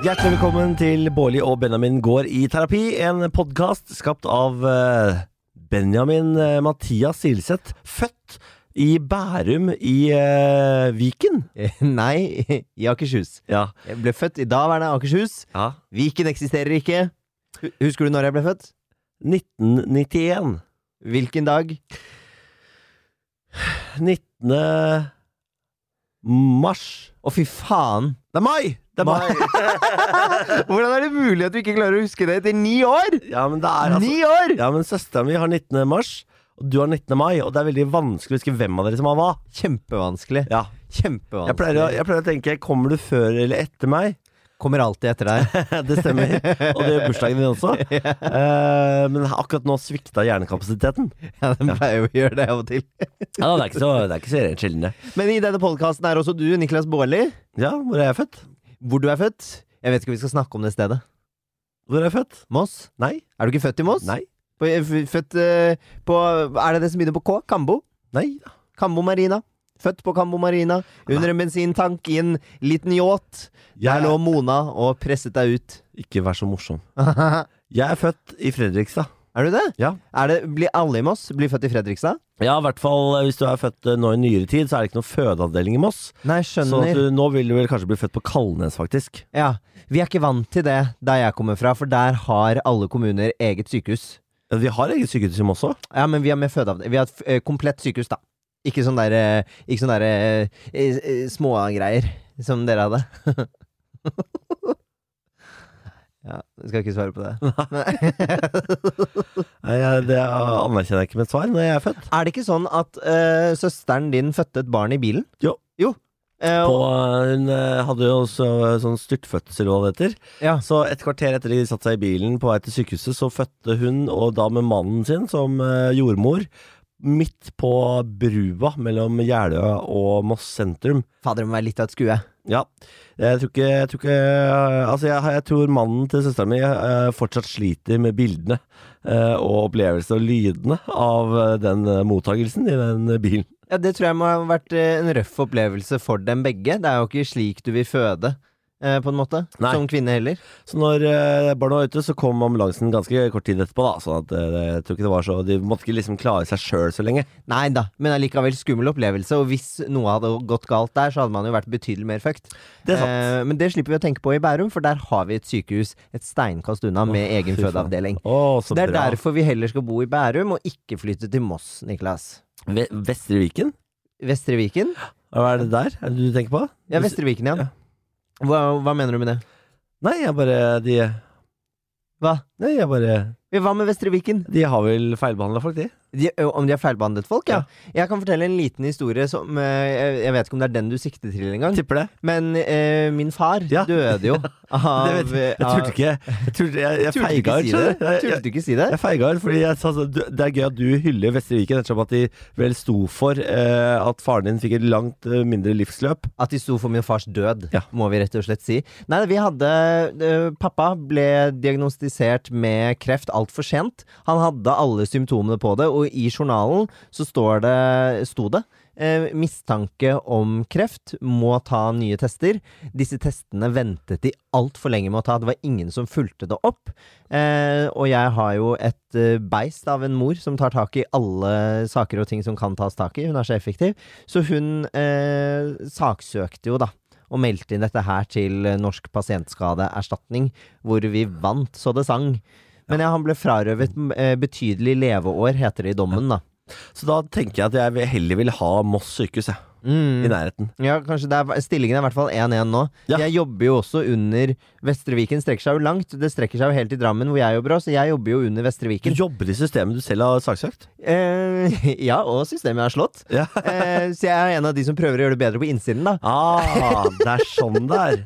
Hjertelig velkommen til Bårli og Benjamin går i terapi, en podkast skapt av eh, Benjamin eh, Mathias Silseth, født i Bærum i eh, Viken. Nei, i Akershus. Ja. Jeg ble født i daværende Akershus. ja. Viken eksisterer ikke. Hu- Husker du når jeg ble født? 1991. Hvilken dag? 19. mars. Å, fy faen! Det er mai! Det er mai. Hvordan er det mulig at du ikke klarer å huske det etter ni år?! Ja, men det er altså Ni år! Ja, men søstera mi har 19. mars, og du har 19. mai, og det er veldig vanskelig å huske hvem av dere som har hva. Kjempevanskelig. Ja. Kjempevanskelig. Jeg pleier, å, jeg pleier å tenke Kommer du før eller etter meg? Kommer alltid etter deg. Det stemmer. Og det gjør bursdagen din også. Eh, men akkurat nå svikta hjernekapasiteten. Ja, den pleier jo å gjøre det av og til. Ja, Det er ikke så, det er ikke så rent sjelden, det. Men i denne podkasten er også du, Niklas Baarli. Ja, hvor er jeg født? Hvor du er født. Jeg vet ikke om vi skal snakke om det stedet. Hvor er jeg født? Moss? Nei. Er du ikke født i Moss? Nei. På- f- Født eh, på Er det det som begynner på K? Kambo? Nei. Kambo Marina. Født på Kambo Marina, under en bensintank i en liten yacht. Der Jeg lå er, Mona og presset deg ut. ikke vær så morsom. er Jeg er født i Fredrikstad. du det? Ja. Er det blir alle i Moss blir født i Fredrikstad? Ja, i hvert fall eh, hvis du er født eh, nå i nyere tid, så er det ikke noen fødeavdeling i Moss. Nei, Så at skjønner. du, nå vil du vel kanskje bli født på Kalnes, faktisk. Ja, Vi er ikke vant til det der jeg kommer fra, for der har alle kommuner eget sykehus. Ja, Vi har eget sykehus i Moss òg. Ja, men vi har med fødeavdeling. Vi har et eh, komplett sykehus, da. Ikke sånn der, eh, ikke sånn der eh, eh, eh, smågreier som dere hadde. ja, jeg skal ikke svare på det. Nei, jeg- Det anerkjenner jeg ikke med et svar når jeg er født. Er det ikke sånn at eh, søsteren din fødte et barn i bilen? Jo. Eh, På, og- hun eh, hadde jo også eh, sånn styrtfødsel og hva det heter. ja. Så et kvarter etter de satt seg i bilen på vei til sykehuset, så fødte hun, og da med mannen sin som eh, jordmor, midt på brua mellom Jeløya og Moss sentrum. Fader, det må være litt av et skue. Ja. Jeg tror ikke, jeg tror, ikke eh, altså jeg, jeg tror mannen til søstera mi eh, fortsatt sliter med bildene eh, og opplevelsene og lydene av eh, den eh, mottagelsen i den bilen. Ja, Det tror jeg må ha vært eh, en røff opplevelse for dem begge. Det er jo ikke slik du vil føde, eh, på en måte. Nei. Som kvinne heller. Så når eh, barna var ute, så kom ambulansen ganske kort tid etterpå, da. Sånn at eh, jeg tror ikke det var så De måtte ikke liksom klare seg sjøl så lenge. Nei da, men allikevel skummel opplevelse. Og hvis noe hadde gått galt der, så hadde man jo vært betydelig mer fucked. Det er sant. Eh, men det slipper vi å tenke på i Bærum, for der har vi et sykehus et steinkast unna med egen fy faen. fødeavdeling. Å, så Eh, Det er bra. derfor vi heller skal bo i Bærum, og ikke flytte til Moss, Niklas. Ve Vestre Viken? Vestre Viken? Hva er det der er det du tenker på? Ja, Vestre Viken, ja. Ja. Hva, hva mener du med det? Nei, jeg bare De, Hva? nei, jeg bare, Ja, Hva med Vestre Viken? de har vel feilbehandla folk, de. De, ø, om de har feilbehandlet folk, ja. Jeg kan fortelle en liten historie som eh, Jeg jeg vet ikke om det er den du sikter til engang, Tipper det. men eh, min far Ja. døde jo av Det vet jeg. Jeg turte ikke Jeg, turte, jeg, jeg Turte du ikke feiga ut, si det? skjønner du. Jeg- Turte jeg- du ikke si det? Jeg feiga ut, fordi jeg sa sånn du- Det er gøy at du hyller Vestre Viken, ettersom at de vel sto for eh, at faren din fikk et langt eh, mindre livsløp. At de sto for min fars død, Ja. må vi rett og slett si. Nei, vi hadde eh, Pappa ble diagnostisert med kreft altfor sent. Han hadde alle symptomene på det, og i journalen så står det, sto det eh, mistanke om kreft, må ta nye tester. Disse testene ventet de altfor lenge med å ta, det var ingen som fulgte det opp. Eh, og jeg har jo et eh, beist av en mor som tar tak i alle saker og ting som kan tas tak i. Hun er så effektiv. Så hun eh, saksøkte jo, da. Og meldte inn dette her til eh, Norsk pasientskadeerstatning, hvor vi vant så det sang. Men ja, han ble frarøvet m- eh, betydelig leveår, heter det i dommen, da. Så da tenker jeg at jeg vil- heller vil ha Moss sykehus, jeg. I Mm. nærheten. Ja, kanskje det er, Stillingen er i hvert fall 1-1 nå. Ja. Jeg jobber jo også under Vestre Viken. Strekker seg jo langt. Det strekker seg jo helt til Drammen, hvor jeg jobber òg, så jeg jobber jo under Vestre Du Viken. jobber i systemet du selv har saksøkt? Eh, ja, og systemet er slått. Ja. Eh, så jeg er en av de som prøver å gjøre det bedre på innsiden, da. Ah, det er sånn det er.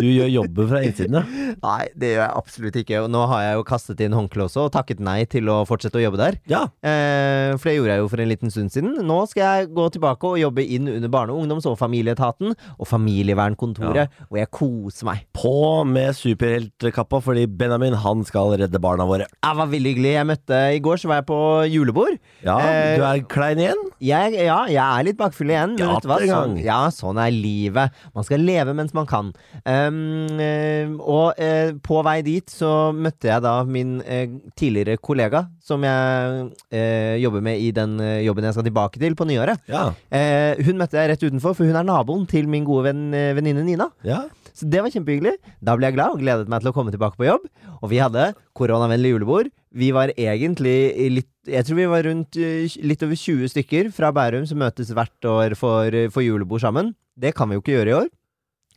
Du gjør jobben fra innsiden, ja. Nei, det gjør jeg absolutt ikke. Og nå har jeg jo kastet inn håndkleet også, og takket nei til å fortsette å jobbe der. Ja, Eh, for det gjorde jeg jo for en liten stund siden. Nå skal jeg gå tilbake og jobbe inn under Barne-, og ungdoms- og familieetaten og Familievernkontoret, og jeg koser meg. På med superheltkappa, fordi Benjamin han skal redde barna våre. Det var veldig hyggelig. Jeg møtte I går så var jeg på julebord. Ja, Eh, Du er klein igjen? Jeg, ja, jeg er litt bakfull igjen. Men Ja, vet du hva? det er Sånn, gang. ja, sånn er livet. Man skal leve mens man kan. Eh, Um, eh, og eh, på vei dit så møtte jeg da min eh, tidligere kollega, som jeg eh, jobber med i den eh, jobben jeg skal tilbake til på nyåret. Ja. Eh, hun møtte jeg rett utenfor, for hun er naboen til min gode venn, eh, venninne Nina. ja. Så det var kjempehyggelig. Da ble jeg glad og gledet meg til å komme tilbake på jobb. Og vi hadde koronavennlig julebord. Vi var egentlig litt Jeg tror vi var rundt eh, litt over 20 stykker fra Bærum som møtes hvert år for, for julebord sammen. Det kan vi jo ikke gjøre i år.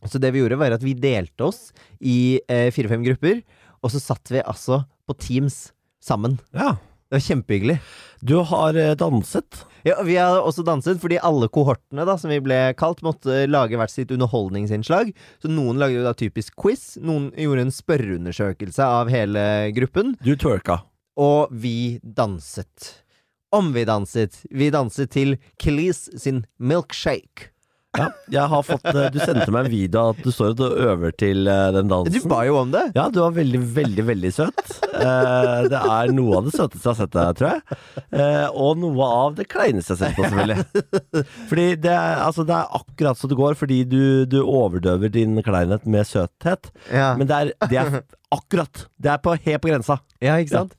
Så det vi gjorde, var at vi delte oss i eh, fire-fem grupper, og så satt vi altså på Teams sammen. ja. Det var kjempehyggelig. Du har eh, danset. Ja, Vi har også danset, fordi alle kohortene da, som vi ble kalt, måtte lage hvert sitt underholdningsinnslag. Så noen lagde jo da typisk quiz, noen gjorde en spørreundersøkelse av hele gruppen, Du twerka. og vi danset. Om vi danset. Vi danset til Kelis sin Milkshake. Ja. Jeg har fått, eh, du sendte meg en video av at du står og øver til eh, den Du dansen. ba jo om det! Ja, du var veldig, veldig veldig søt. Eh, det er noe av det søteste jeg har sett deg, tror jeg. Eh, og noe av det kleineste jeg har sett deg, selvfølgelig. Fordi det er, altså, det er akkurat så det går, fordi du, du overdøver din kleinhet med søthet. Ja, Men det er, det er akkurat. Det er på, helt på grensa. ja ikke sant?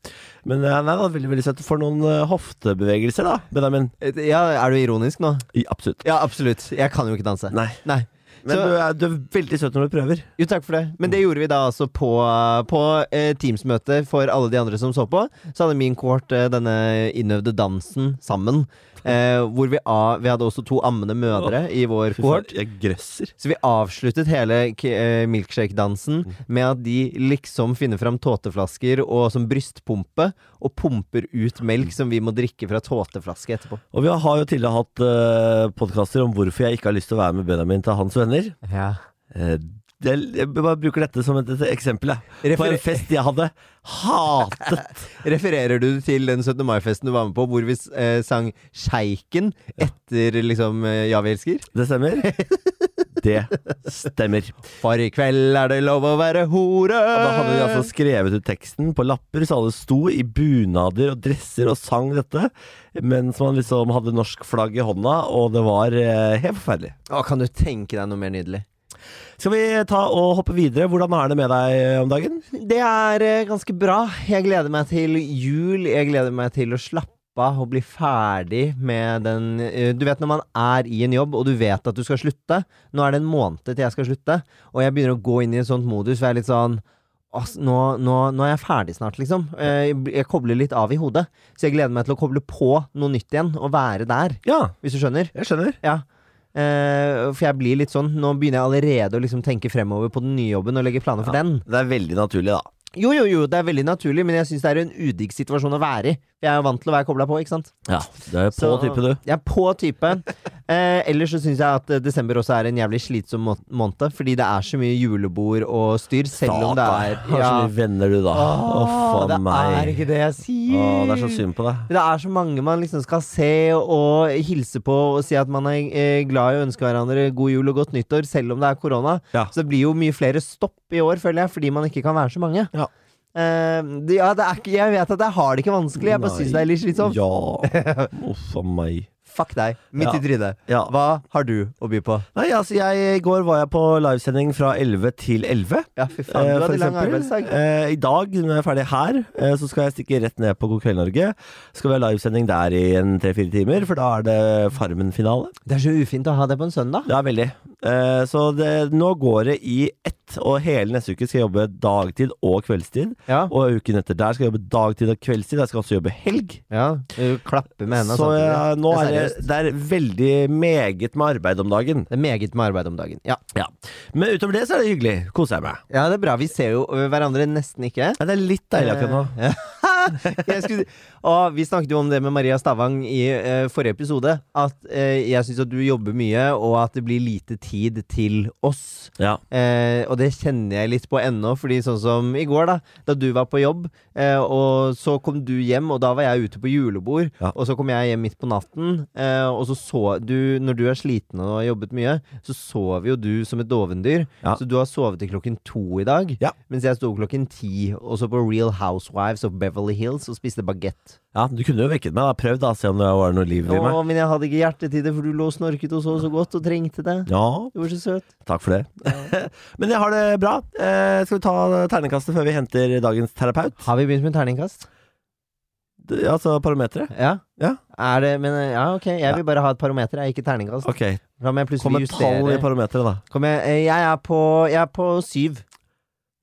Men eh, nei, det var veldig, veldig søtt. For noen eh, hoftebevegelser, da, Benjamin. Ja, Er du ironisk nå? I, absolutt. Ja, absolutt. Jeg kan jo ikke danse. Nei. Nei. Men Så- du, er, du er veldig søt når du prøver. Jo, takk for det. Men det gjorde vi da altså på, på eh, Teams-møte for alle de andre som så på. Så hadde min kohort eh, denne innøvde dansen sammen. Eh, hvor vi, av, vi hadde også to ammende mødre i vår kohort. Jeg grøsser. Så vi avsluttet hele k- eh, milkshake-dansen med at de liksom finner fram tåteflasker og som brystpumpe, og pumper ut melk som vi må drikke fra tåteflaske etterpå. Og vi har jo tidligere hatt uh, podkaster om hvorfor jeg ikke har lyst til å være med Benjamin til hans venner. Ja. Eh, det, jeg bare bruker dette som et, et eksempel. Jeg. På Referer- en fest jeg hadde hatet. Refererer du til den 17. mai-festen du var med på, hvor vi eh, sang Sjeiken etter liksom eh, Ja, vi elsker? Det stemmer. Det stemmer. For i kveld er det lov å være hore! Og da hadde de altså skrevet ut teksten på lapper, så alle sto i bunader og dresser og sang dette, mens man liksom hadde norsk flagg i hånda, og det var eh, helt forferdelig. Å, kan du tenke deg noe mer nydelig? Skal vi ta og hoppe videre? Hvordan er det med deg om dagen? Det er eh, ganske bra. Jeg gleder meg til jul. Jeg gleder meg til å slappe av og bli ferdig med den eh, Du vet når man er i en jobb, og du vet at du skal slutte. Nå er det en måned til jeg skal slutte, og jeg begynner å gå inn i en sånt modus hvor jeg er litt sånn «Ass, nå, nå, nå er jeg ferdig snart, liksom. Eh, Jeg, jeg kobler litt av i hodet. Så jeg gleder meg til å koble på noe nytt igjen, og være der, Ja, hvis du skjønner. jeg skjønner. Ja. Eh, for jeg blir litt sånn Nå begynner jeg allerede å liksom tenke fremover på den nye jobben og legge planer for den. Det er veldig naturlig, da. Jo, jo, jo, det er veldig naturlig, men jeg syns det er en udigg situasjon å være i. Jeg er jo vant til å være kobla på, ikke sant? Ja, det er på Så- type, du. Jeg er på type. Eh, ellers så syns jeg at eh, desember også er en jævlig slitsom må måned, fordi det er så mye julebord og styr, selv om det er Har så mye venner, du, da. Å, faen det er meg. ikke det jeg sier. Å, det er så synd på deg. Det er så mange man liksom skal se og hilse på og si at man er eh, glad i å ønske hverandre god jul og godt nyttår, selv om det er korona. Ja. Så det blir jo mye flere stopp i år, føler jeg, fordi man ikke kan være så mange. Ja. Eh, det, ja, det er ikke, jeg vet at jeg har det ikke vanskelig, jeg bare Nei. syns det er litt sånn- slitsomt. Ja. Uff a meg. Fuck deg, midt Ja. i trynet. Ja. Hva har du å by på? Nei, altså, jeg, I går var jeg på livesending fra 11 til 11. Ja, fy Eh, faen, du for hadde lang eksempel, arbeidsdag. eh, I dag, når jeg er ferdig her, eh, så skal jeg stikke rett ned på God kveld Norge. Så skal vi ha livesending der i en tre-fire timer, for da er det Farmen-finale. Det er så ufint å ha det på en søndag. Det er veldig. Eh, så det, nå går det i ett, og hele neste uke skal jeg jobbe dagtid og kveldstid. Ja. Og uken etter der skal jeg jobbe dagtid og kveldstid. Jeg skal også jobbe helg. ja. Du klapper med henda Så samtidig. eh, nå Det er er det, det er veldig meget med arbeid om dagen. Det er meget med arbeid om dagen. Ja. Ja. Men utover det så er det hyggelig. Koser jeg meg. ja, det er bra. Vi ser jo ø, hverandre nesten ikke. Ja, det er litt deilig akkurat nå. Eh, jeg skulle, og vi snakket jo om det med Maria Stavang i eh, forrige episode. At eh, jeg syns at du jobber mye, og at det blir lite tid til oss. Ja. Eh, og det kjenner jeg litt på ennå, fordi sånn som i går, da. Da du var på jobb, eh, og så kom du hjem, og da var jeg ute på julebord. Ja. Og så kom jeg hjem midt på natten, eh, og så så du Når du er sliten og har jobbet mye, så sover jo du som et dovendyr. Ja. Så du har sovet til klokken to i dag. Ja. Mens jeg sto klokken ti og så på Real Housewives of Beverly Beverly Hills og spiste bagett. Ja, Du kunne jo vekket meg. da Prøvd da, se om det var noe liv i Å, meg. men jeg hadde ikke hjerte til det, for du lå og snorket og så så godt og trengte det. Ja, Du var så søt. takk for det. Men jeg har det bra. Eh, skal vi ta terningkastet før vi henter dagens terapeut? Har vi begynt med terningkast? D- Altså parometeret? Ja. Ja. Er det, men ja, ok, jeg vil bare ha et parometer, jeg, ikke terningkast. Ok, Da må jeg Kom plutselig med tall i justere. parometeret, da. Kom jeg, eh, jeg, er på, jeg er på syv.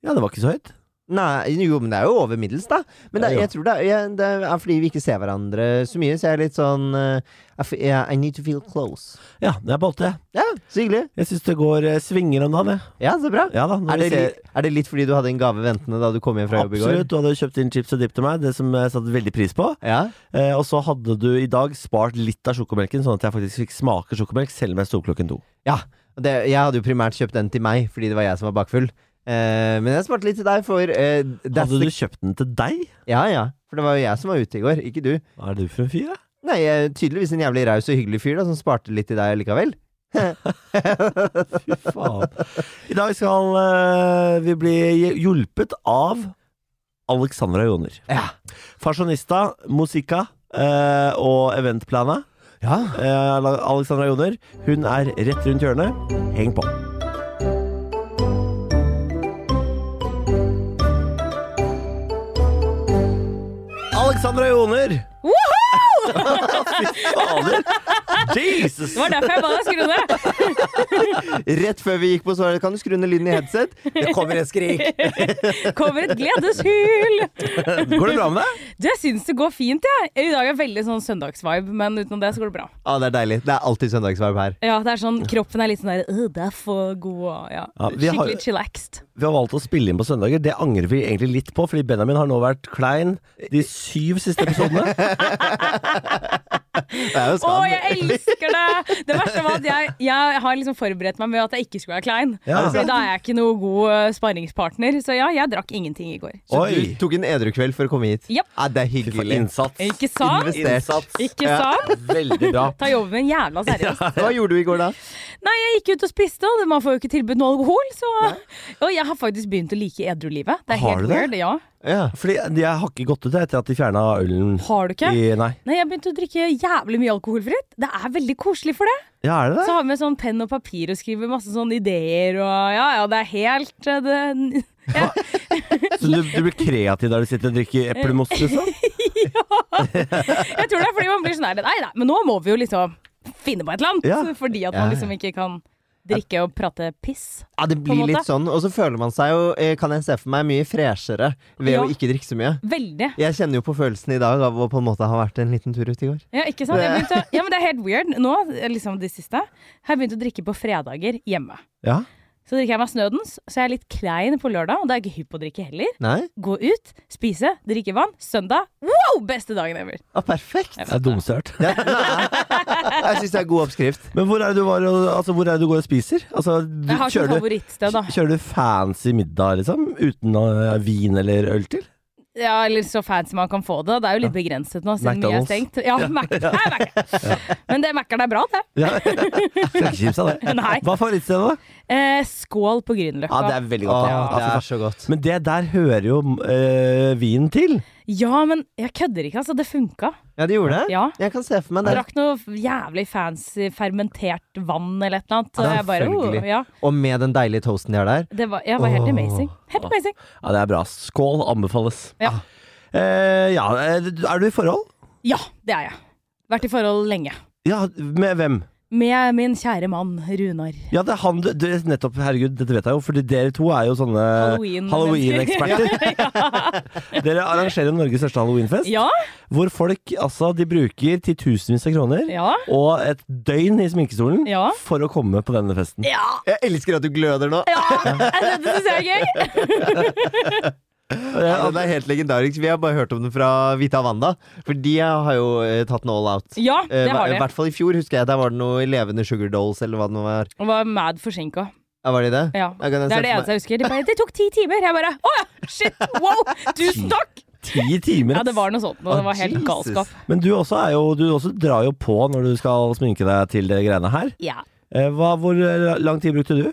Ja, det var ikke så høyt. Nei, jo, men det er jo over middels, da. Men det, Ja, jo. jeg tror det er, jeg, det er fordi vi ikke ser hverandre så mye, så jeg er litt sånn eh, I, f- yeah, I need to feel close. Ja, det er på åtte. jeg. Ja, så hyggelig. Jeg syns det går eh, svinger om dagen, jeg. Ja, så bra. Ja da, når Er det, vi ser- li, er det litt fordi du hadde en gave ventende da du kom hjem fra jobb i går? Absolutt. Du hadde kjøpt inn chips og dip til meg, det som jeg satte veldig pris på. Ja. Eh, og så hadde du i dag spart litt av sjokomelken, sånn at jeg faktisk fikk smake sjokomelk selv om jeg sto klokken to. ja. og Det, jeg hadde jo primært kjøpt den til meg, fordi det var jeg som var bakfull. Eh, men jeg sparte litt til deg, for eh, that's Hadde the du kjøpt den til deg? Ja, ja. For det var jo jeg som var ute i går, ikke du. Hva er du for en fyr, da? Nei, jeg er tydeligvis en jævlig raus og hyggelig fyr da, som sparte litt til deg likevel. Fy faen. I dag skal eh, vi bli hjulpet av Alexandra Joner. Ja. Fasjonista, musika eh, og eventplana. ja. Eh, Alexandra Joner, hun er rett rundt hjørnet. Heng på. Alexandra Joner! Fy fader! Jesus! Det var derfor jeg ba deg skru ned. Rett før vi gikk på, så var det, kan du skru ned lyden i headset? Det kommer et skrik. Kommer et gledeshyl! Går det bra med deg? Du, jeg syns det går fint, jeg. I dag er veldig sånn søndagsvibe, men utenom det så går det bra. Ja, det er deilig. Det er alltid søndagsvarm her. Ja, det er sånn, Kroppen er litt sånn der «Øh, Det er for god og ja. Ja, vi har- Skikkelig chillaxed. Vi har valgt å spille inn på søndager. Det angrer vi egentlig litt på, fordi Benjamin har nå vært klein de syv siste episodene. Det er jo Å, skam. jeg elsker det! Det verste var at jeg, jeg har liksom forberedt meg med at jeg ikke skulle være klein. Ja. Fordi da er jeg ikke noe god eh, sparringspartner. Så ja, jeg drakk ingenting i går. Så du Oi! tok en edru kveld for å komme hit? Japp. Ja, det er Fy faen, hyggelig. Innsats. Ikke sant? Investert. Ikke sant? Veldig bra. Ta jobben min jævla seriøst. Hva gjorde du i går, da? Nei, jeg gikk ut og spiste, og man får jo ikke tilbud noe alkohol, så Og jeg har faktisk begynt å like edrulivet. Det er Har du helt det? weird. Ja. Ja. Fordi jeg har ikke gått ut etter at de fjerna ølen. Har du ikke? I, nei. Nei, jeg begynte å drikke jævlig mye alkoholfritt. Det er veldig koselig for det. Ja, er det det? Så har vi med sånn penn og papir og skriver masse sånne ideer og Ja, ja, det er helt eh, det, Så du, du blir kreativ der du sitter og drikker eplemos, liksom? Jeg tror det er fordi man blir sånn her Nei, nei, men nå må vi jo liksom finne på et eller annet. Ja. Fordi at Ja, man ja. liksom ikke kan drikke og prate piss. ja, det blir måte. litt sånn. Og så føler man seg jo, eh, kan jeg se for meg, mye freshere ved Ja. å ikke drikke så mye. Veldig. Jeg kjenner jo på følelsen i dag av å på en måte ha vært en liten tur ute i går. Ja, ikke sant? Jeg begynte, å- ja, men det er helt weird. Nå, liksom det siste, har jeg begynt å drikke på fredager hjemme. Ja. Så drikker jeg meg snødens, så jeg er litt klein på lørdag, og da er jeg ikke hypp på å drikke heller. Nei? Gå ut, spise, drikke vann. Søndag, wow, beste dagen ever! Ja, perfekt. Det er dummeste jeg har hørt. Ja, nei. Jeg syns det er god oppskrift. Men hvor er det du, var, og- altså, hvor er det du går og spiser? Altså, du, Jeg har ikke kjører, du, favorittsted, da. kjører du fancy middag, liksom? Uten eh, vin eller øl til? Ja, eller så fancy man kan få det. Det er jo litt begrenset nå, siden mye er McDonald's. stengt. Ja, Mac Nei, Mac Men det Mac-eren er bra, det. Ja. Skal ikke kimse av det. Nei. Hva er favorittstedet, da? Eh, skål på Ja, det Grünerløkka. er veldig Å, godt. Ja, fy det er Ah, altså, faen. så godt. Men det der hører jo eh, vinen til. Ja, men jeg kødder ikke, altså. Det funka. Ja, det gjorde det? Ja. Jeg kan se for meg det. Drakk noe jævlig fancy fermentert vann eller et eller annet. Ja, Og jeg bare, oh, selvfølgelig. ja. Og med den deilige toasten de har der. Det var, jeg var helt Åh. amazing. Helt amazing. Ja, det er bra. Skål anbefales. Ja. Eh, ja, eh, er du i forhold? Ja, det er jeg. Vært i forhold lenge. Ja, med hvem? Med min kjære mann Runar. Ja, det er han du, du- Nettopp, herregud, dette vet jeg jo, fordi dere to er jo sånne Halloween- Halloween-eksperter. dere arrangerer Norges største halloweenfest, Ja, hvor folk altså, de bruker titusenvis av kroner ja, og et døgn i sminkestolen Ja. for å komme på denne festen. ja. Jeg elsker at du gløder nå. ja. Dette syns jeg er gøy. Ja, den er helt legendarisk. Vi har bare hørt om den fra Vita Wanda. For de har jo eh, tatt den all out. Ja, det har I de. Eh, hvert fall i fjor, husker jeg. Der var det noe levende Sugar Dolls, eller hva det nå var. Og var mad forsinka. Ja, var de det? Ja. Jeg kan Det er det se for meg- eneste jeg husker. De bare 'Det tok ti timer'. Jeg bare 'Å ja, shit! Wow! Tusen takk!' Ti timer! Ja, det var noe sånt. Og det var helt Jesus. galskap. Men du også, er jo, du også drar jo på når du skal sminke deg til de greiene her. Ja. Eh, Hva, hvor eh, lang tid brukte du?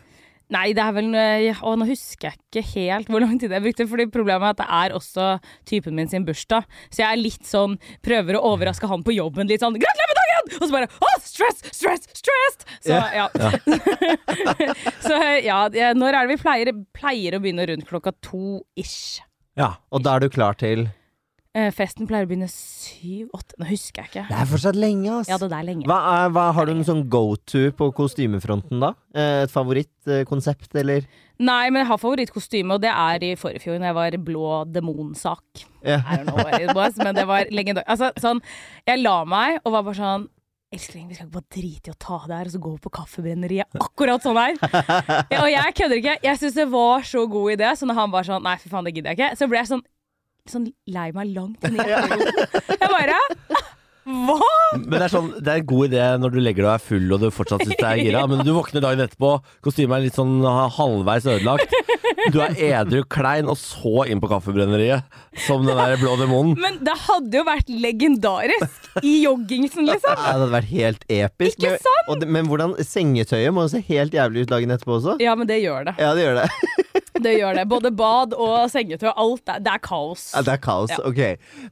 Nei, det er vel eh, Og nå husker jeg ikke helt hvor lang tid jeg brukte, Fordi problemet er at det er også typen min sin bursdag. Så jeg er litt sånn Prøver å overraske han på jobben litt sånn 'Gratulerer med dagen!' Og så bare 'Å, stress, stress, stressed!' Så ja. så ja, det- når er det vi pleier, pleier å begynne rundt klokka to ish? Ja. Og da er du klar til Eh, festen pleier å begynne syv-åtte. Nå husker jeg ikke. Det er fortsatt lenge, ass! Ja, det der er lenge. hva er, hva, har du en sånn go to på kostymefronten, da? Eh, Et favorittkonsept, eller? Nei, men jeg har favorittkostyme, og det er i forrige fjor, når jeg var blå demonsak. Ja. I don't know what it was, men det var legendarisk. Altså, sånn, jeg la meg og var bare sånn Elskling, vi skal ikke bare drite i å ta det her og så gå på kaffebrenneriet. Akkurat sånn her. Ja, og jeg kødder ikke. Jeg syns det var så god idé, så når han var sånn Nei, fy faen, det gidder jeg ikke. Så ble jeg sånn, sånn lei meg langt inn i perioden. Jeg bare Hva?! Men det er, sånn, det er en god idé når du legger deg og er full og du fortsatt syns det er gira, men du våkner dagen etterpå, kostymet er litt sånn halvveis ødelagt. Du er edru, klein og så inn på kaffebrenneriet som den der blå demonen. Men det hadde jo vært legendarisk i joggingsen, liksom. Ja, det hadde vært helt episk. Ikke Men- Og det, men hvordan sengetøyet må jo se helt jævlig ut dagen etterpå også? Ja, men det gjør det. Ja, det gjør det. Det gjør det. Både bad og sengetøy og alt. Det, det er kaos. Ja, det er kaos. Ja. Ok.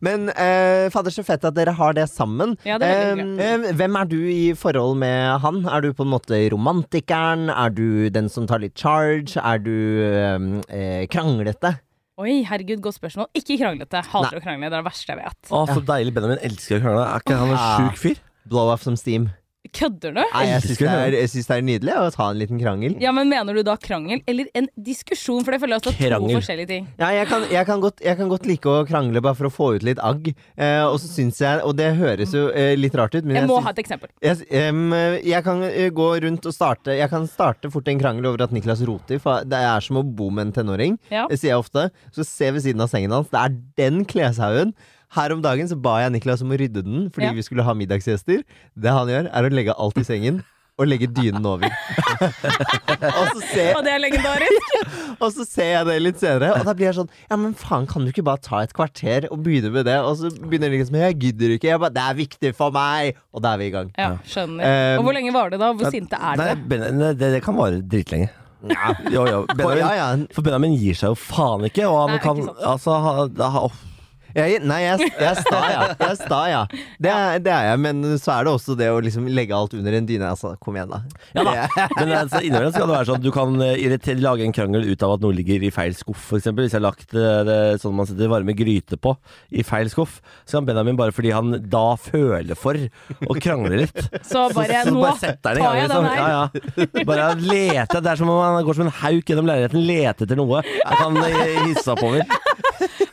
Men eh, fader, så fett at dere har det sammen. Ja, det er veldig Eh, eh, hvem er du i forhold med han? Er du på en måte romantikeren? Er du den som tar litt charge? Er du eh, eh, kranglete? Oi, herregud, godt spørsmål. Ikke kranglete. Hater å krangle. Det er det verste jeg vet. Å, så deilig. Benjamin elsker å krangle. Er ikke han en Ja. sjuk fyr? Blow off som steam. Kødder du? Nei, jeg Elsker syns det, det. er- jeg syns det er nydelig å ta en liten krangel. Ja, men Mener du da krangel eller en diskusjon? For det føler jeg også er to Krangel. forskjellige ting. Ja, jeg kan, jeg, kan godt, jeg kan godt like å krangle bare for å få ut litt agg. Eh, og så syns jeg Og det høres jo eh, litt rart ut, men Jeg jeg, må syns- ha et eksempel. Jeg, em, jeg kan eh, gå rundt og starte Jeg kan starte fort en krangel over at Niklas roter. For det er som å bo med en tenåring, Ja. Det sier jeg ofte. Så se ved siden av sengen hans. Det er den kleshaugen. Her om dagen så ba jeg Niklas om å rydde den fordi Ja. vi skulle ha middagsgjester. Det han gjør, er å legge alt i sengen. Og legge dynen over. og, så ser, Og det er legendarisk. og så ser jeg det litt senere, og da blir jeg sånn Ja, men faen, kan du ikke bare ta et kvarter og begynne med det? Og så begynner Niklas med Jeg gidder ikke. Jeg bare, det er viktig for meg! Og da er vi i gang. Ja, skjønner. Og hvor lenge var det, da? Hvor sinte er Eh, Nei, dere? Benjamin, det, det kan vare dritlenge. Ja. Jo, jo. Benjamin, ja, ja. For Benjamin gir seg jo faen ikke, og han Nei, kan ikke sant. altså ha, ha, off. Jeg, nei, jeg, jeg er sta, ja. Jeg er sta, ja. Det, er, det er jeg, men så er det også det å liksom legge alt under en dyne. Altså, kom igjen, da. Det, Men altså, innimellom skal det være sånn at du kan eh, irritere, lage en krangel ut av at noe ligger i feil skuff, f.eks. Hvis jeg har lagt eh, det, sånn man setter varme gryter på, i feil skuff, så kan Benjamin bare fordi han da føler for å krangle litt. Så bare så nå bare setter han tar i gang, jeg den liksom. her. Ja, ja. Bare lete. Det er som om han går som en hauk gjennom leiligheten, leter etter noe jeg kan eh, hisse seg oppover.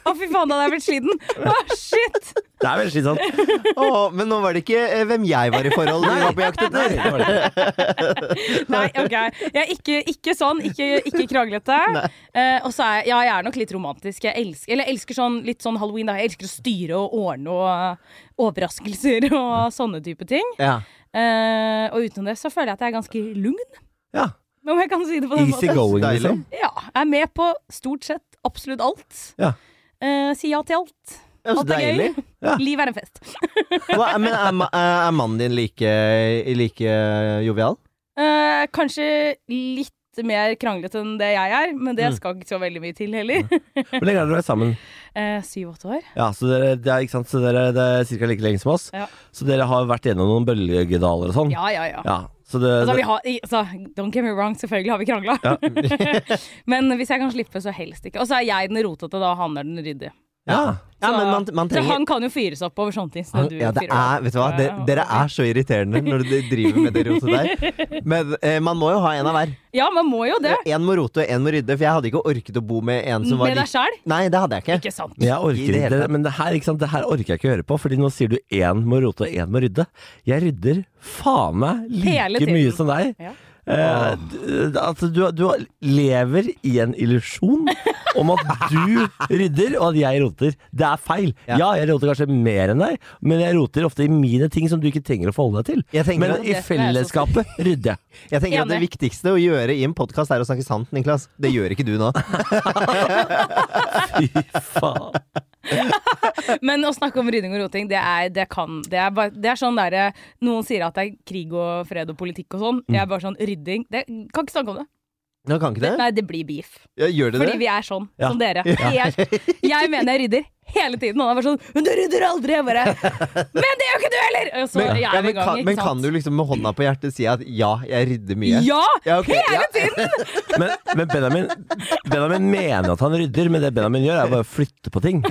Å, fy faen, da hadde jeg blitt sliten. Å, shit! Det er veldig slitsomt. å, men nå var det ikke eh, hvem jeg var i forhold til. var på jakt etter. Det var det. Nei, ok. Jeg er ikke, ikke sånn. Ikke, ikke kranglete. Eh, og så er jeg, ja, jeg er nok litt romantisk. Jeg elsker, eller jeg elsker sånn, litt sånn halloween. Da. Jeg elsker å styre og ordne og eh, overraskelser og sånne type ting. Ja. Eh, og utenom det så føler jeg at jeg er ganske lugn, Ja. om jeg kan si det på den Easy måten. going, Deilig. liksom. Ja, jeg er med på stort sett absolutt alt. Ja. Eh, si ja til alt. Ja, så Alt er deilig. gøy. Ja. Liv er en fest. Hva, men er, ma- eh, er mannen din like, like jovial? Eh, kanskje litt mer kranglete enn det jeg er, men Mm. det skal ikke så veldig mye til heller. Hvor lenge har dere vært sammen? Eh, Syv-åtte år. Ja, så dere, det er, ikke sant? Så dere det er ca. like lenge som oss. Ja. Så dere har vært gjennom noen bølgedaler og Mm. sånn? Ja, ja, ja. Ja, så det, Altså, vi har, i- altså, don't get me wrong, selvfølgelig har vi krangla. men hvis jeg kan slippe, så helst ikke. Og så er jeg den rotete, da, og han er den ryddige. ja. Ja, Så- men man, man Så trenger han kan jo fyres opp over sånne ting. som Han- du ja, det fyrer opp. er, vet du hva? De, Ja, dere er så irriterende når dere driver med det rotet der. Men eh, man må jo ha en av hver. Eh, Ja, man må jo det. En må rote, og en må rydde. For jeg hadde ikke orket å bo med en som var Med deg lik sjæl. Nei, det hadde jeg ikke. Ikke sant. Men jeg I orker det hele ikke det, tatt. men det her, ikke sant? det her orker jeg ikke å høre på, Fordi nå sier du én må rote og én må rydde. Jeg rydder faen meg Hele like tiden. mye som deg. Ja. Eh, d- altså, du, du lever i en illusjon om at du rydder og at jeg roter. Det er feil. Ja. Ja, jeg roter kanskje mer enn deg, men jeg roter ofte i mine ting som du ikke trenger å forholde deg Jeg til. tenker Men at- i Det skal jeg også fellesskapet rydder jeg. Jeg tenker at Det Enig. viktigste å gjøre i en podkast er å snakke sant, Niklas. Det gjør ikke du nå. Fy faen. Men å snakke om rydding og roting, det er, det kan, det er, bare, det er sånn derre Mm. Noen sier at det er krig og fred og politikk og sånn. Jeg er bare sånn Rydding det, Kan ikke snakke om det. Nå kan ikke det? Nei, det blir beef. Ja, gjør det Fordi det? vi er sånn, Ja. som dere. Jeg, sånn, jeg mener jeg rydder hele tiden. Og han er bare sånn 'Men du rydder aldri!' Jeg bare 'Men det gjør ikke du heller!' Og så jeg ja, er vi men, i gang, kan, ikke men sant? kan du liksom med hånda på hjertet si at ja, jeg rydder mye? Ja! Ja, ok, ja. hele tiden! Men, men Benjamin, Benjamin mener at han rydder, men det Benjamin gjør, er bare å flytte på ting.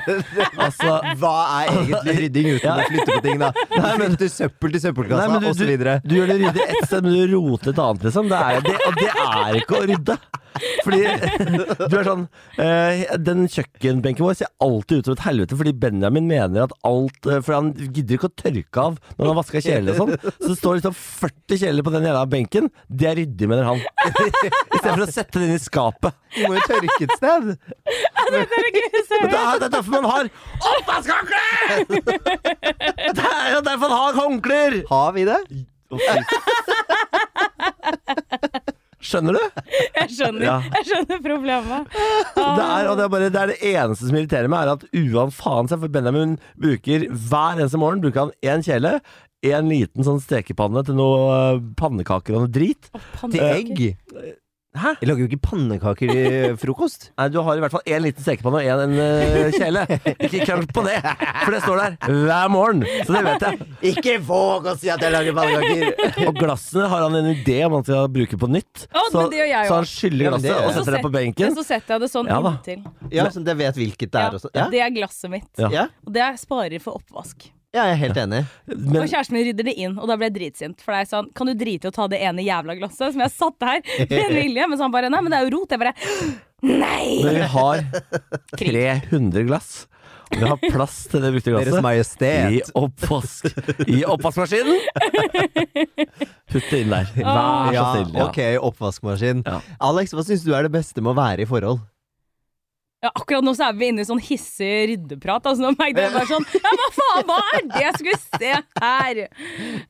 Altså, Hva er egentlig rydding uten å flytte på ting, da? Nei, men du søppel til Nei, men søppelkassa, du, osv. du, du gjør det ryddig ett sted, men du roter et annet, liksom. Det er, det, og det er ikke å rydde. Fordi du er sånn eh, Den kjøkkenbenken vår ser alltid ut som et helvete, fordi Benjamin mener at alt eh, For han gidder ikke å tørke av når han har vaska kjeler og sånn. Så det står liksom 40 kjeler på den jævla benken. Det er ryddig, mener han. Istedenfor å sette den i skapet. Du må jo tørke et sted. Herregud, så Men det er, det er derfor man har oppvaskhåndkle! Det er jo derfor man har håndklær! Har vi det? Å, fy. Skjønner du? Jeg skjønner, Ja. jeg skjønner problemet. Ah. Det er, og det, er bare, det er det eneste som irriterer meg, er at uan faen seg, for Benjamin bruker hver eneste morgen bruker han én kjele, en liten sånn stekepanne til noe eh, pannekaker og noe drit. Eh, Til egg? Hæ? Jeg lager jo ikke pannekaker i frokost. Nei, du har i hvert fall én liten stekepanne og én eh, kjele. Ikke krangl på det, for det står der hver morgen, så det vet jeg. Ikke våg å si at jeg lager pannekaker! Og glassene har han en idé om at han skal bruke på nytt, Å, så, men det gjør jeg jo. så han skyller Ja, men det- glasset og Og så setter det på Men benken. så setter jeg det sånn Ja da. inntil. Ja, så jeg vet hvilket det Ja, er også. Ja, Det er glasset mitt. Ja. ja. Og det er sparer for oppvask. ja jeg er helt enig. Men, Og kjæresten min rydder det inn, og da ble jeg dritsint. For det er sånn, kan du drite i å ta det ene jævla glasset som jeg satte her med en vilje? Mens han bare nei, men det er jo rot. Jeg bare nei! men vi har 300 glass. og Vi har plass til det brukte Deres glasset. I Majestet. oppvask I oppvaskmaskinen! Putt det inn der. Vær så Ja, snill. Ja. ok, oppvaskmaskin. Ja. Alex, hva syns du er det beste med å være i forhold? Ja, akkurat nå så er vi inne i sånn hissig ryddeprat. Altså, nå merket jeg bare sånn Ja, hva faen, hva er det jeg skulle se her?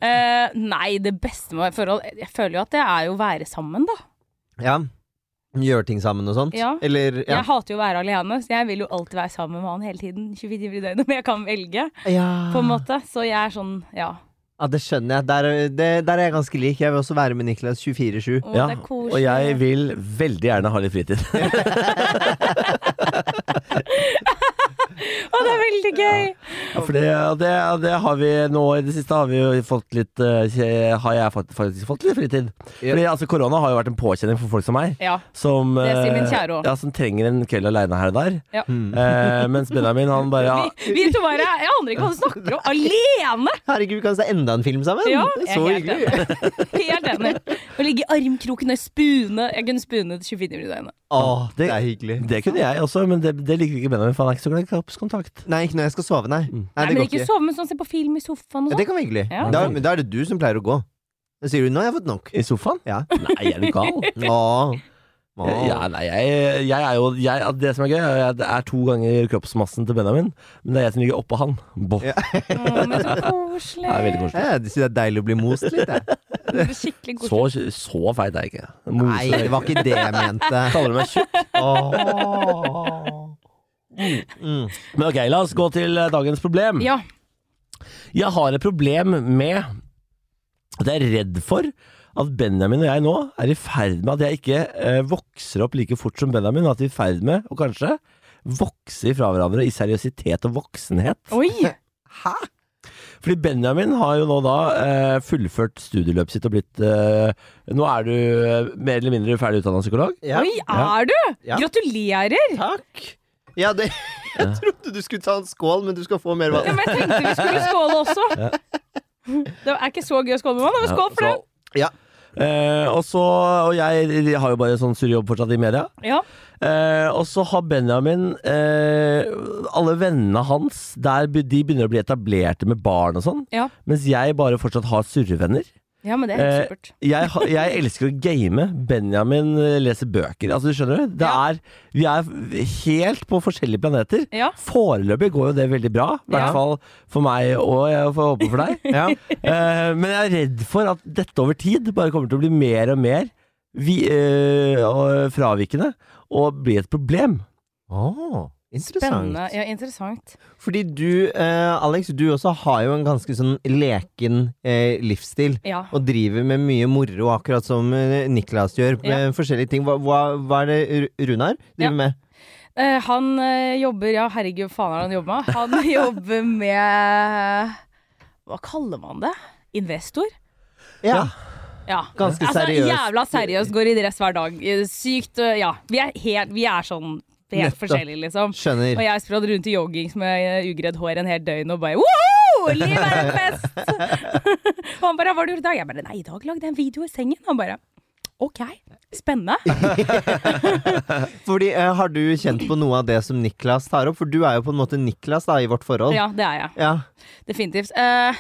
Eh, nei, det beste med forhold Jeg føler jo at det er jo å være sammen, da. Ja. Gjøre ting sammen og sånt? Ja. Eller ja. Jeg hater jo å være alene, så jeg vil jo alltid være sammen med han hele tiden. 24 timer i døgnet, men jeg kan velge, Ja. på en måte. Så jeg er sånn, ja. ja, det skjønner jeg. Der, det, der er jeg ganske lik. Jeg vil også være med Niklas 24-7. Å, Ja, det er koselig. og jeg vil veldig gjerne ha litt fritid. Å, det er veldig gøy! Ja, For det, det, det har vi nå i det siste har vi jo fått litt eh, kje- Har jeg fakt- faktisk fått litt fritid. Ja. Fordi altså Korona har jo vært en påkjenning for folk som meg. Ja. Som, Det sier min eh, kjære også. ja, som trenger en kveld aleine her og der. Ja. Mm. Eh, mens Benjamin han bare ja, Vi, vi to bare Jeg aner ikke hva du snakker om. Alene! Herregud, kan vi se enda en film sammen? Ja, det jeg er er så helt hyggelig. enig. Helt enig. Å ligge i armkroken og spune. Jeg kunne spunet 24 timer i døgnet. Åh, det er hyggelig. Det kunne jeg også, men det, det liker ikke Benjamin, for han er ikke så glad i kroppskontakt. Nei, ikke når jeg skal sove, nei. Nei, Nei, det men går ikke ikke. sove, men sånn se på film i sofaen og Ja, sånn. det kan være hyggelig. Ja. Da, men da er det du som pleier å gå. Da sier du 'nå har jeg fått nok'. I sofaen? Ja. Nei, er du gal? Åh. Åh. Ja, nei, jeg, jeg er jo jeg, at Det som er gøy, er at det er to ganger kroppsmassen til Benjamin, men det er jeg som ligger oppå han. Boff. Ja. sånn. Å, men så Det er veldig koselig. koselig. Jeg synes det er deilig å bli most litt, jeg. Det er Skikkelig Så, koselig. så feit er jeg ikke. Nei, Mose- det var ikke det jeg mente. Kaller du meg tjukk? Mm. Men ok, la oss gå til eh, dagens problem. Ja. Jeg har et problem med at jeg er redd for at Benjamin og jeg nå er i ferd med at jeg ikke eh, vokser opp like fort som Benjamin, og at vi er i ferd med, og kanskje, vokse ifra hverandre i seriøsitet og voksenhet. Oi! Hæ? Fordi Benjamin har jo nå da eh, fullført studieløpet sitt og blitt eh, Nå er du eh, mer eller mindre ferdig utdanna psykolog. Ja. Oi, er du? Ja. Gratulerer! Takk. Ja, det, jeg trodde du skulle ta en skål, men du skal få mer Ja, vann. men jeg tenkte vi skulle skåle også. Det er ikke så gøy å skåle med vann, men skål for det. Ja. Eh, og så Og jeg, jeg har jo bare en sånn surr jobb fortsatt i media. Ja. Eh, og så har Benjamin eh, Alle vennene hans der be- de begynner å bli etablerte med barn og sånn. Ja. Mens jeg bare fortsatt har surrevenner. ja, men det er helt Eh, supert. jeg, ha- jeg elsker å game. Benjamin eh, leser bøker. Altså, du skjønner? Det Ja. er, vi er helt på forskjellige planeter. Ja. Foreløpig går jo det veldig bra. I hvert Ja. fall for meg, og jeg får håpe for deg. Ja. Eh, men jeg er redd for at dette over tid bare kommer til å bli mer og mer vi, eh, og fravikende og bli et problem. Åh, Interessant. Spennende. Ja, interessant. Fordi du, eh, Alex, du også har jo en ganske sånn leken eh, livsstil. Ja. Og driver med mye moro, akkurat som eh, Niklas gjør. Med forskjellige ting. Hva, hva, hva er det Ru- Runar driver Ja. med? Eh, han eh, jobber Ja, herregud, faen er det han jobber med? Han jobber med Hva kaller man det? Investor? Ja. Ja. Ganske Altså, seriøst. jævla seriøst går i dress hver dag. Eh, Sykt eh, Ja. Vi er, helt, vi er sånn helt Nettopp. forskjellige, liksom. Og Skjønner. jeg språdde rundt i joggings med eh, ugredd hår en hel døgn og bare Woho! Livet er en fest! og han bare 'Hva har du gjort i dag?' Jeg bare 'Nei, i dag lagde jeg en video i sengen'. Han bare 'OK, spennende'. Fordi, eh, har du kjent på noe av det som Niklas tar opp? For du er jo på en måte Niklas da, i vårt forhold. Ja, det er jeg. Ja. Definitivt. Eh,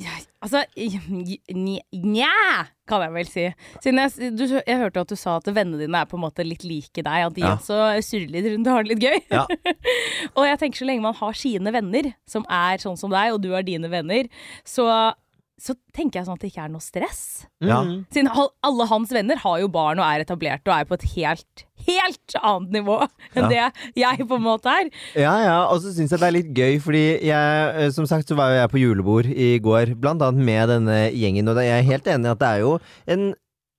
ja, altså nj- nj- Nja, kan jeg vel si. Siden jeg, s- du, jeg hørte at du sa at vennene dine er på en måte litt like deg. At de Ja. også surrer litt rundt og har det litt gøy. Ja. og jeg tenker så lenge man har sine venner som er sånn som deg, og du har dine venner, så, så tenker jeg sånn at det ikke er noe stress. Ja. Mm. Siden hal- alle hans venner har jo barn og er etablerte og er på et helt, helt annet nivå enn det jeg på en måte er. Ja, ja, og så syns jeg det er litt gøy, fordi jeg, eh, som sagt så var jo jeg på julebord i går, blant annet med denne gjengen, og det- jeg er helt enig i at det er jo en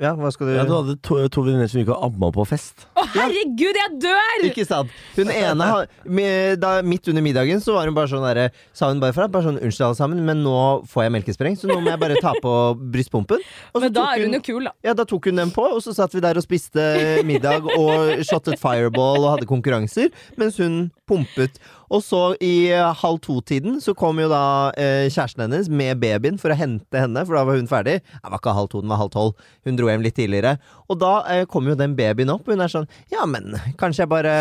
Ja, hva skal du Ja, du hadde to, to venninner som gikk og amma på fest. Å, herregud, jeg dør! Ikke sant? Hun ene, har- med- da, midt under middagen, så var hun bare sånn derre Sa hun bare fra, bare sånn unnskyld alle sammen, men nå får jeg melkespreng, så nå må jeg bare ta på brystpumpen. Og så Men da tok er hun jo kul, da. Ja, da tok hun den på, og så satt vi der og spiste middag og shottet fireball og hadde konkurranser, mens hun pumpet. Og så i eh, halv to-tiden så kom jo da eh, kjæresten hennes med babyen for å hente henne, for da var hun ferdig. Det var ikke halv to, den var halv tolv. Hun dro hjem litt tidligere. Og da eh, kom jo den babyen opp, og hun er sånn Ja, men kanskje jeg bare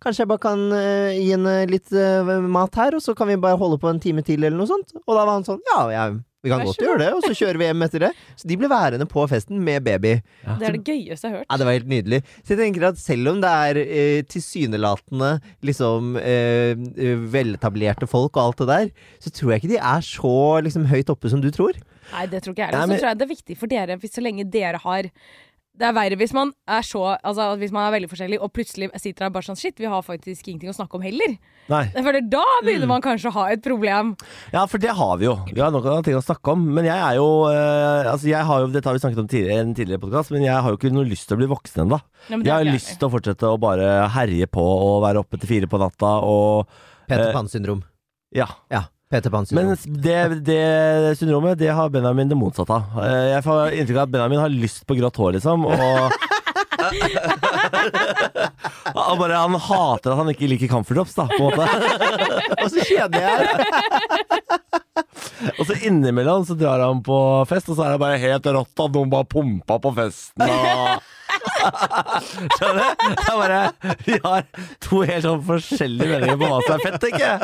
Kanskje jeg bare kan eh, gi henne litt eh, mat her, og så kan vi bare holde på en time til, eller noe sånt. Og da var han sånn Ja, jeg vi kan Vær så godt god. gjøre det, og så kjører vi hjem etter det. Så de ble værende på festen med baby. Det er det gøyeste jeg har hørt. Ja, det var helt nydelig. Så jeg tenker at selv om det er eh, tilsynelatende liksom eh, eh, veletablerte folk og alt det der, så tror jeg ikke de er så liksom høyt oppe som du tror. Nei, det tror ikke jeg Nei, heller. men- Så tror jeg det er viktig for dere, hvis så lenge dere har det er verre hvis man er så Altså hvis man er veldig forskjellig og plutselig sitter der bare sånn Shit, vi har faktisk ingenting å snakke om heller. Nei. Jeg føler Da Mm. begynner man kanskje å ha et problem. Ja, for det har vi jo. Vi har nok av ting å snakke om. Men jeg er jo eh, Altså, jeg har jo Dette har vi snakket om tidligere i en tidligere podkast, men jeg har jo ikke noe lyst til å bli voksen ennå. Ja, men det Jeg har er jo ikke lyst til å fortsette å bare herje på og være oppe til fire på natta og Peter Eh. Pan-syndrom. Ja. Ja, Peter Pan-syndrom. Men det, det syndromet, det har Benjamin det motsatte av. Eh, Jeg får inntrykk av at Benjamin har lyst på grått hår, liksom. Og han, bare, han hater at han ikke liker camferdrops, da, på en måte. Og så kjeder jeg her. Og så innimellom så drar han på fest, og så er det bare helt rått at noen bare pumpa på festen. Og... Skjønner du? Det er bare Vi har to helt sånn forskjellige meninger på hva som er fett, tenker jeg.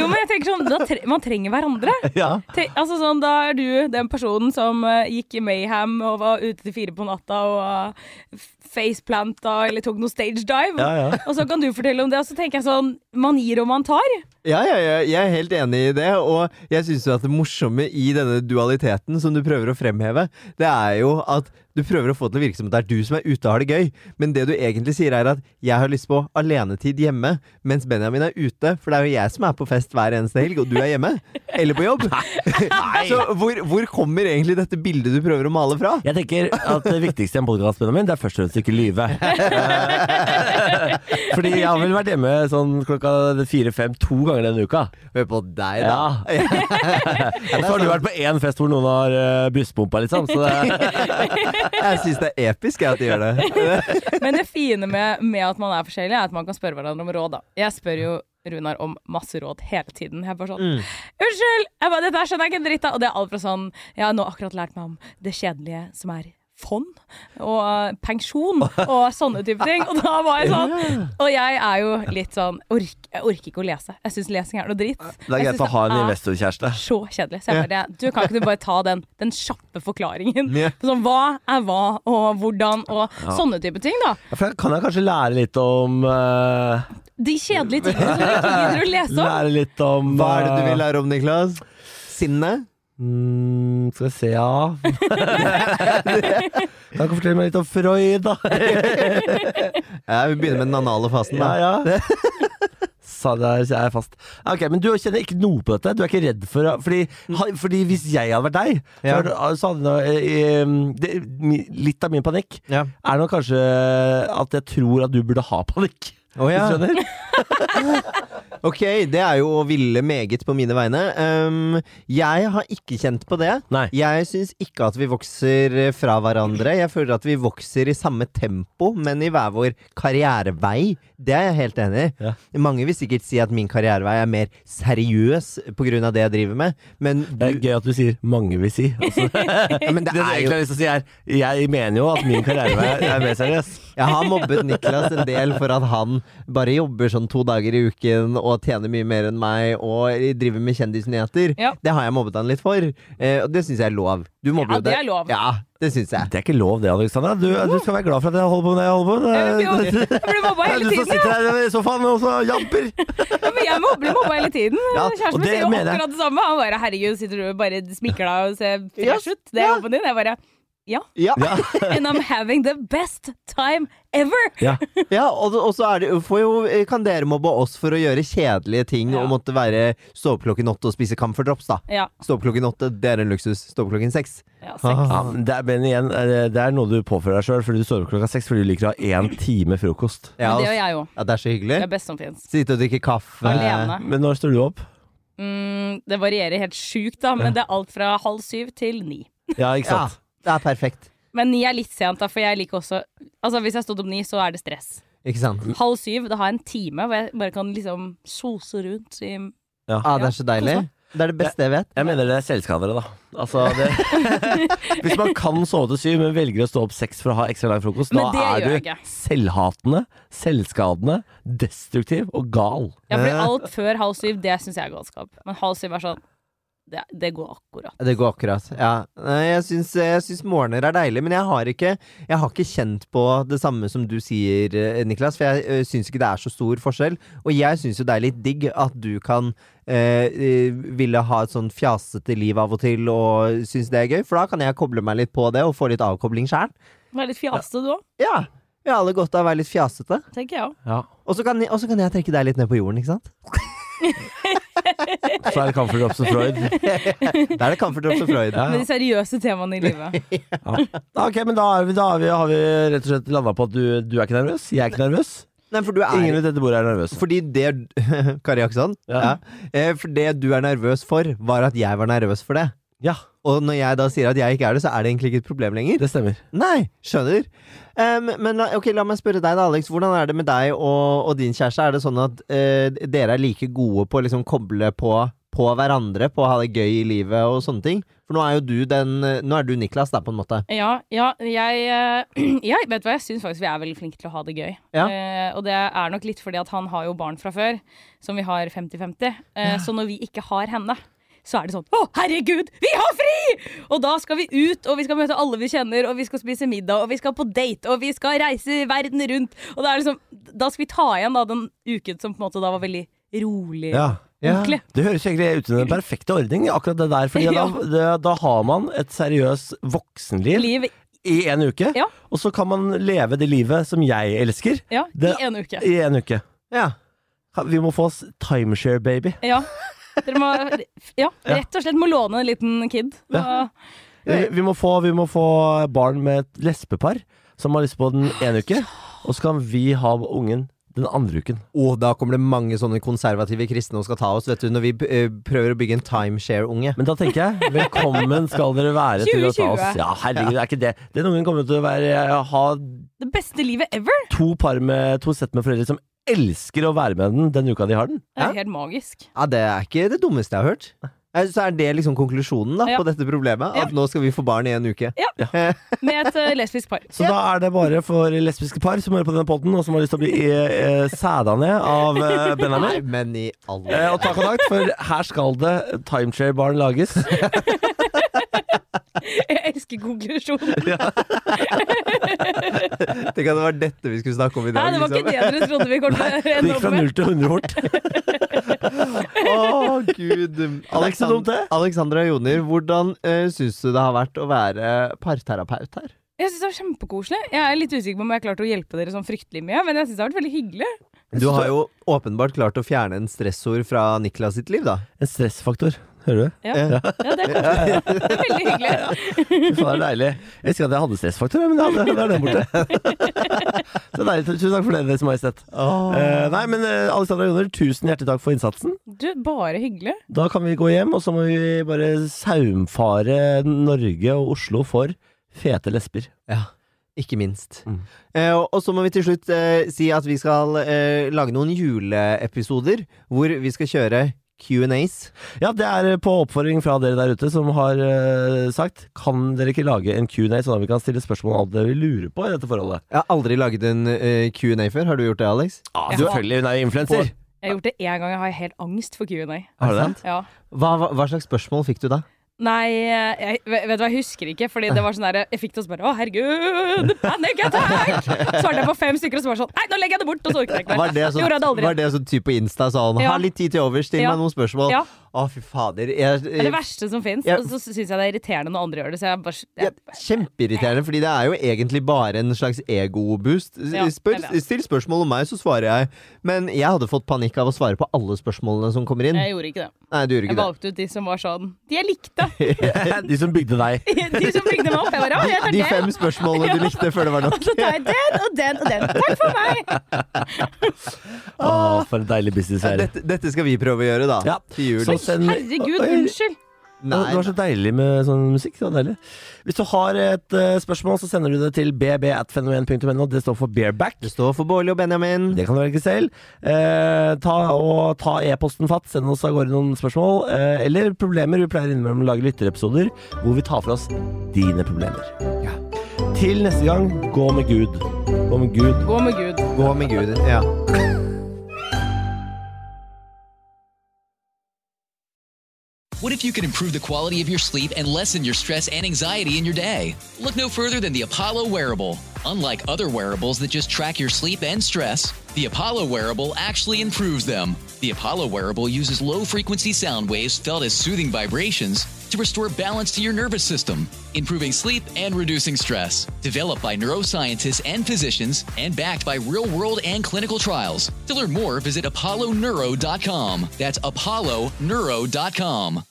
Jo, men jeg tenker sånn da tre Man trenger hverandre. Ja. Tre altså sånn, Da er du den personen som eh, gikk i Mayhem og var ute til fire på natta og eh, faceplanta eller tok noe stage dive. Ja, ja. Og så kan du fortelle om det, og så tenker jeg sånn Man gir og man tar. Ja, ja, ja, jeg er helt enig i det, og jeg syns jo at det morsomme i denne dualiteten som du prøver å fremheve, det er jo at du prøver å få til å virke som at det er du som er ute og har det gøy, men det du egentlig sier er at jeg har lyst på alenetid hjemme, mens Benjamin er ute, for det er jo jeg som er på fest hver eneste helg, og du er hjemme. Eller på jobb. Så hvor, hvor kommer egentlig dette bildet du prøver å male fra? Jeg tenker at det viktigste i en podkast, Benjamin, det er først og fremst ikke lyve. Fordi jeg har vel vært hjemme sånn klokka fire-fem to ganger denne uka. Hør på deg, da. Ja. Og så har du vært på én fest hvor noen har eh, brystpumpa, liksom. Så det, Jeg syns det er episk jeg, at de gjør det. Men det fine med, med at man er forskjellig, er at man kan spørre hverandre om råd. Da. Jeg spør jo Runar om masse råd hele tiden. Jeg er bare sånn Mm. Unnskyld! Jeg bare, Dette her skjønner jeg ikke en dritt av. Og det er alt fra sånn Jeg har nå akkurat lært meg om det kjedelige som er fond, og eh, pensjon, og sånne type ting. Og da var jeg sånn Og jeg er jo litt sånn ork, Jeg orker ikke å lese. Jeg syns lesing er noe dritt. det er Jeg greit synes å ha en det er investorkjæreste. så kjedelig. Så jeg bare, du kan ikke du bare ta den, den kjappe forklaringen? Ja. Sånn, hva er hva, og hvordan, og sånne type ting, da. Ja, For da kan jeg kanskje lære litt om eh, De kjedelige tingene som du ikke gidder å lese om. Lære litt om Sånn. Hva er det du eh, vil lære om, Niklas? Sinne? Mm, skal vi se, ja Kan ikke fortelle meg litt om Freud, da? Ja, vi begynner med den anale fasen, da. Ja, ja. Sa det der, så jeg er fast. Ok, Men du kjenner ikke noe på dette? Du er ikke redd for Fordi, ha- fordi hvis jeg hadde vært deg, så Ja. hadde- så hadde eh, eh, det, mi- Litt av min panikk Ja. er nok kanskje at jeg tror at du burde ha panikk. Å, ja. Hvis du skjønner? Ok, det er jo å ville meget på mine vegne. Ehm, jeg har ikke kjent på det. Nei. Jeg syns ikke at vi vokser eh, fra hverandre. Jeg føler at vi vokser i samme tempo, men i hver vår karrierevei. Det er jeg helt enig i. Ja. Mange vil sikkert si at min karrierevei er mer seriøs pga. det jeg driver med, men, Det er du, gøy at du sier 'mange vil si'. Altså, ja, men det det er jeg jo egentlig har lyst til å si, er Jeg mener jo at min karrierevei er mer seriøs. Jeg har mobbet Niklas en del for at han bare jobber sånn to dager i uken og tjener mye mer enn meg og driver med kjendisnyheter. Ja. Det har jeg mobbet han litt for, eh, og det syns jeg er lov. Du mobber Ja, jo det er lov. Ja, det syns jeg. Det er ikke lov, det, Alexandra. Du, du skal være glad for at jeg holder på med det jeg Jeg blir holder på med. jo- jeg blir mobba Det er Du hele som tiden. sitter her i sofaen og så jamper! Ja, men jeg mob- blir mobba hele tiden. Ja, og Kjæresten min det sier jo mener jeg. akkurat det samme. Han bare 'herregud, sitter du og bare smikker deg og ser Yes, fresh ut'? Det er ja. jobben din. Jeg bare ja. Ja, ja. Ja, And I'm having the best time ever! ja. og, og så er det, får jo, kan dere mobbe oss for å gjøre kjedelige ting Ja. og måtte være stå opp klokken åtte og spise Camphor Drops, da. Ja. Stå opp klokken åtte, det er en luksus. Stå opp klokken seks. ja sex. ja Ah. men det er, men igjen, eh, det er noe du påfører deg sjøl, fordi du står opp klokka seks fordi du liker å ha én time frokost. Men Ja, det gjør ass. jeg òg. ja, det er så hyggelig. Det er best som fins. Sitte og drikke kaffe. Alene. Men når står du opp? Mm, det varierer helt sjukt, da, men det er alt fra halv syv til ni. Ja, ikke Ja, sant? det er perfekt. Men ni er litt sent, da, for jeg liker også Altså Hvis jeg stod opp ni, så er det stress. Ikke sant? Halv syv, da har jeg en time hvor jeg bare kan liksom sose rundt i Ah, det er så deilig. kos Det er det beste jeg vet. Jeg mener det er selvskadere, da. Altså, det, hvis man kan sove til syv, men velger å stå opp seks for å ha ekstra lang frokost, da Men det gjør er jeg du ikke. selvhatende, selvskadende, destruktiv og gal. Ja, fordi alt før halv syv, det syns jeg er galskap. Men halv syv er sånn Det, det går akkurat. Det går akkurat. Ja. Nei, Jeg syns, jeg syns morgener er deilig, men jeg har, ikke, jeg har ikke kjent på det samme som du sier, eh, Niklas. For jeg eh, syns ikke det er så stor forskjell. Og jeg syns jo det er litt digg at du kan eh, eh, ville ha et sånn fjasete liv av og til og syns det er gøy, for da kan jeg koble meg litt på det og få litt avkobling sjæl. Du er litt fjaste, du òg, Ja. Vi har alle godt av å være litt fjasete. tenker jeg òg. Ja. Og så kan, og så kan jeg trekke deg litt ned på jorden, ikke sant? Så er det Comfort Drops og Freud. Da er det Comfort Drops og Freud. Ja, Med ja. de seriøse temaene i livet. Ja, Ok, men da, er vi, da er vi, har vi rett og slett landa på at du, du er ikke nervøs. Jeg er ikke nervøs. Nei, for du er Ingen ved dette bordet er nervøs. Fordi det Kari Jaksson, Ja. ja. Eh, for det du er nervøs for, var at jeg var nervøs for det. Ja, Og når jeg da sier at jeg ikke er det, så er det egentlig ikke et problem lenger. det stemmer. Nei, skjønner. Em, men la, ok, la meg spørre deg da, Alex. Hvordan er det med deg og, og din kjæreste? Er det sånn at eh, dere er like gode på å liksom koble på, på hverandre, på å ha det gøy i livet og sånne ting? For nå er jo du den eh, Nå er du Niklas, da, på en måte. Ja, ja jeg, eh, jeg vet du hva, jeg syns faktisk vi er veldig flinke til å ha det gøy. Ja. Eh, og det er nok litt fordi at han har jo barn fra før, som vi har 50-50. Eh, Så når vi ikke har henne, så er det sånn Å, herregud, vi har fri! Og da skal vi ut, og vi skal møte alle vi kjenner, og vi skal spise middag, og vi skal på date, og vi skal reise verden rundt. Og da er liksom, da skal vi ta igjen da den uken som på en måte da var veldig rolig. Ja. Ja. Ordentlig. Det høres egentlig ut som den perfekte ordning, akkurat det der. Fordi da, Ja. det, da har man et seriøst voksenliv Liv i en uke, Ja. og så kan man leve det livet som jeg elsker, ja, Det- i en uke. i en uke. Ja. Ha- Vi må få oss timeshare, baby. Ja. Dere må ja, rett og slett må låne en liten kid. Ja. Ja. Vi, vi, må få, vi må få barn med et lesbepar som har lyst på den ene uke, og så kan vi ha ungen den andre uken. Og da kommer det mange sånne konservative kristne og skal ta oss, vet du, når vi eh, prøver å bygge en timeshare-unge. Men da tenker jeg, velkommen skal dere være til å ta oss. 2020. Ja, herregud, det er ikke det. Den ungen kommer til å være, ha Det beste livet ever! to par med, to sett med foreldre som elsker å være med den den uka de har den. Det er Hæ? helt magisk. Ja, det er ikke det dummeste jeg har hørt. Eh, Så er det liksom konklusjonen da Ja. på dette problemet? At Ja. nå skal vi få barn i en uke? Med et eh, lesbisk par. Så da er det bare for lesbiske par som hører på denne podden, og som har lyst til å bli eh, eh, sæda ned av eh, Nei, Benjamin. men i alle Eh, og ta kontakt, for her skal det timeshare-barn lages. Jeg elsker konklusjonen. Tenk at det var dette vi skulle snakke om i Nei, dag. liksom. det var ikke det dere trodde vi kom til å Det ende gikk opp fra med. null til 100 fort. Å, gud. så dumt, det. Alexandra Joner, hvordan uh, syns du det har vært å være parterapeut her? Jeg syns det var kjempekoselig. Jeg er litt usikker på om jeg klarte å hjelpe dere sånn fryktelig mye, men jeg syns det har vært veldig hyggelig. Du har jo åpenbart klart å fjerne en stressord fra Niklas sitt liv, da. En stressfaktor. Hører du? Ja, ja det er koselig. Det er veldig hyggelig. Fy faen, det er deilig. Jeg husker at jeg hadde stressfaktor, jeg, men jeg hadde, det er den borte. Så deilig. Tusen takk for det, Deres Majestet. Eh, nei, men eh, Alexandra Joner, tusen hjertelig takk for innsatsen. Du, bare hyggelig. Da kan vi gå hjem, og så må vi bare saumfare Norge og Oslo for fete lesber. Ja, ikke minst. Mm. Eh, og- og så må vi til slutt eh, si at vi skal eh, lage noen juleepisoder hvor vi skal kjøre Q&As. Ja, det er på oppfordring fra dere der ute som har eh, sagt Kan dere ikke lage en Q&A sånn at vi kan stille spørsmål om alt det vi lurer på i dette forholdet? Jeg har aldri laget en eh, Q&A før. Har du gjort det, Alex? Ja, Ja. selvfølgelig, hun er jo influenser. Jeg har gjort det én gang, jeg har helt angst for Q&A. Har du det? Ja. Hva, hva, hva slags spørsmål fikk du da? Nei, jeg, vet du hva, jeg husker ikke, fordi det var sånn der Jeg fikk det og så bare Å, herregud! Panic attack! Svarte jeg på fem stykker, og så bare sånn Nei, nå legger jeg det bort! Og så orket jeg ikke Var mer. det sånn, Gjorde jeg det aldri. var det sånn type Insta sånn Ja. Ha litt tid til overs, still Ja. meg noen spørsmål. Ja. Å, fy fader. Jeg, Det er det verste som fins. Ja. Og så syns jeg det er irriterende når andre gjør det, så jeg bare Ja, jeg, kjempeirriterende, fordi det er jo egentlig bare en slags ego-boost. S- Ja, Spør, jeg vet. still spørsmål om meg, så svarer jeg. Men jeg hadde fått panikk av å svare på alle spørsmålene som kommer inn. jeg gjorde ikke det. Nei, du gjorde Jeg ikke det. valgte ut de som var sånn De jeg likte! De som bygde deg. De som bygde meg opp. Jeg bare Å, jeg De tar fem den! spørsmålene du Ja. likte før det var nok. Og så tar jeg den og den og den. Takk for meg! Å, for en deilig business Ja, her. Dette, dette skal vi prøve å gjøre, da. Ja. Til jul. Så send- Herregud, Oi. unnskyld. Det var- Nei, det var så deilig med sånn musikk. Det var deilig. Hvis du har et eh, spørsmål, så sender du det til bb.fenomen.no. Det står for bareback. det står for Bårli og Benjamin. Det kan du velge selv. Eh, ta og ta e-posten fatt, send oss av gårde noen spørsmål. Eh, eller problemer. Vi pleier innimellom å lage lytterepisoder hvor vi tar for oss dine problemer. Til neste gang, gå med Gud. Gå med Gud. Gå med Gud. Gå med Gud. Ja. What if you could improve the quality of your sleep and lessen your stress and anxiety in your day? Look no further than the Apollo wearable. Unlike other wearables that just track your sleep and stress, the Apollo wearable actually improves them. The Apollo wearable uses low frequency sound waves felt as soothing vibrations to restore balance to your nervous system, improving sleep and reducing stress. Developed by neuroscientists and physicians and backed by real world and clinical trials. To learn more, visit apolloneuro.com. That's apolloneuro.com.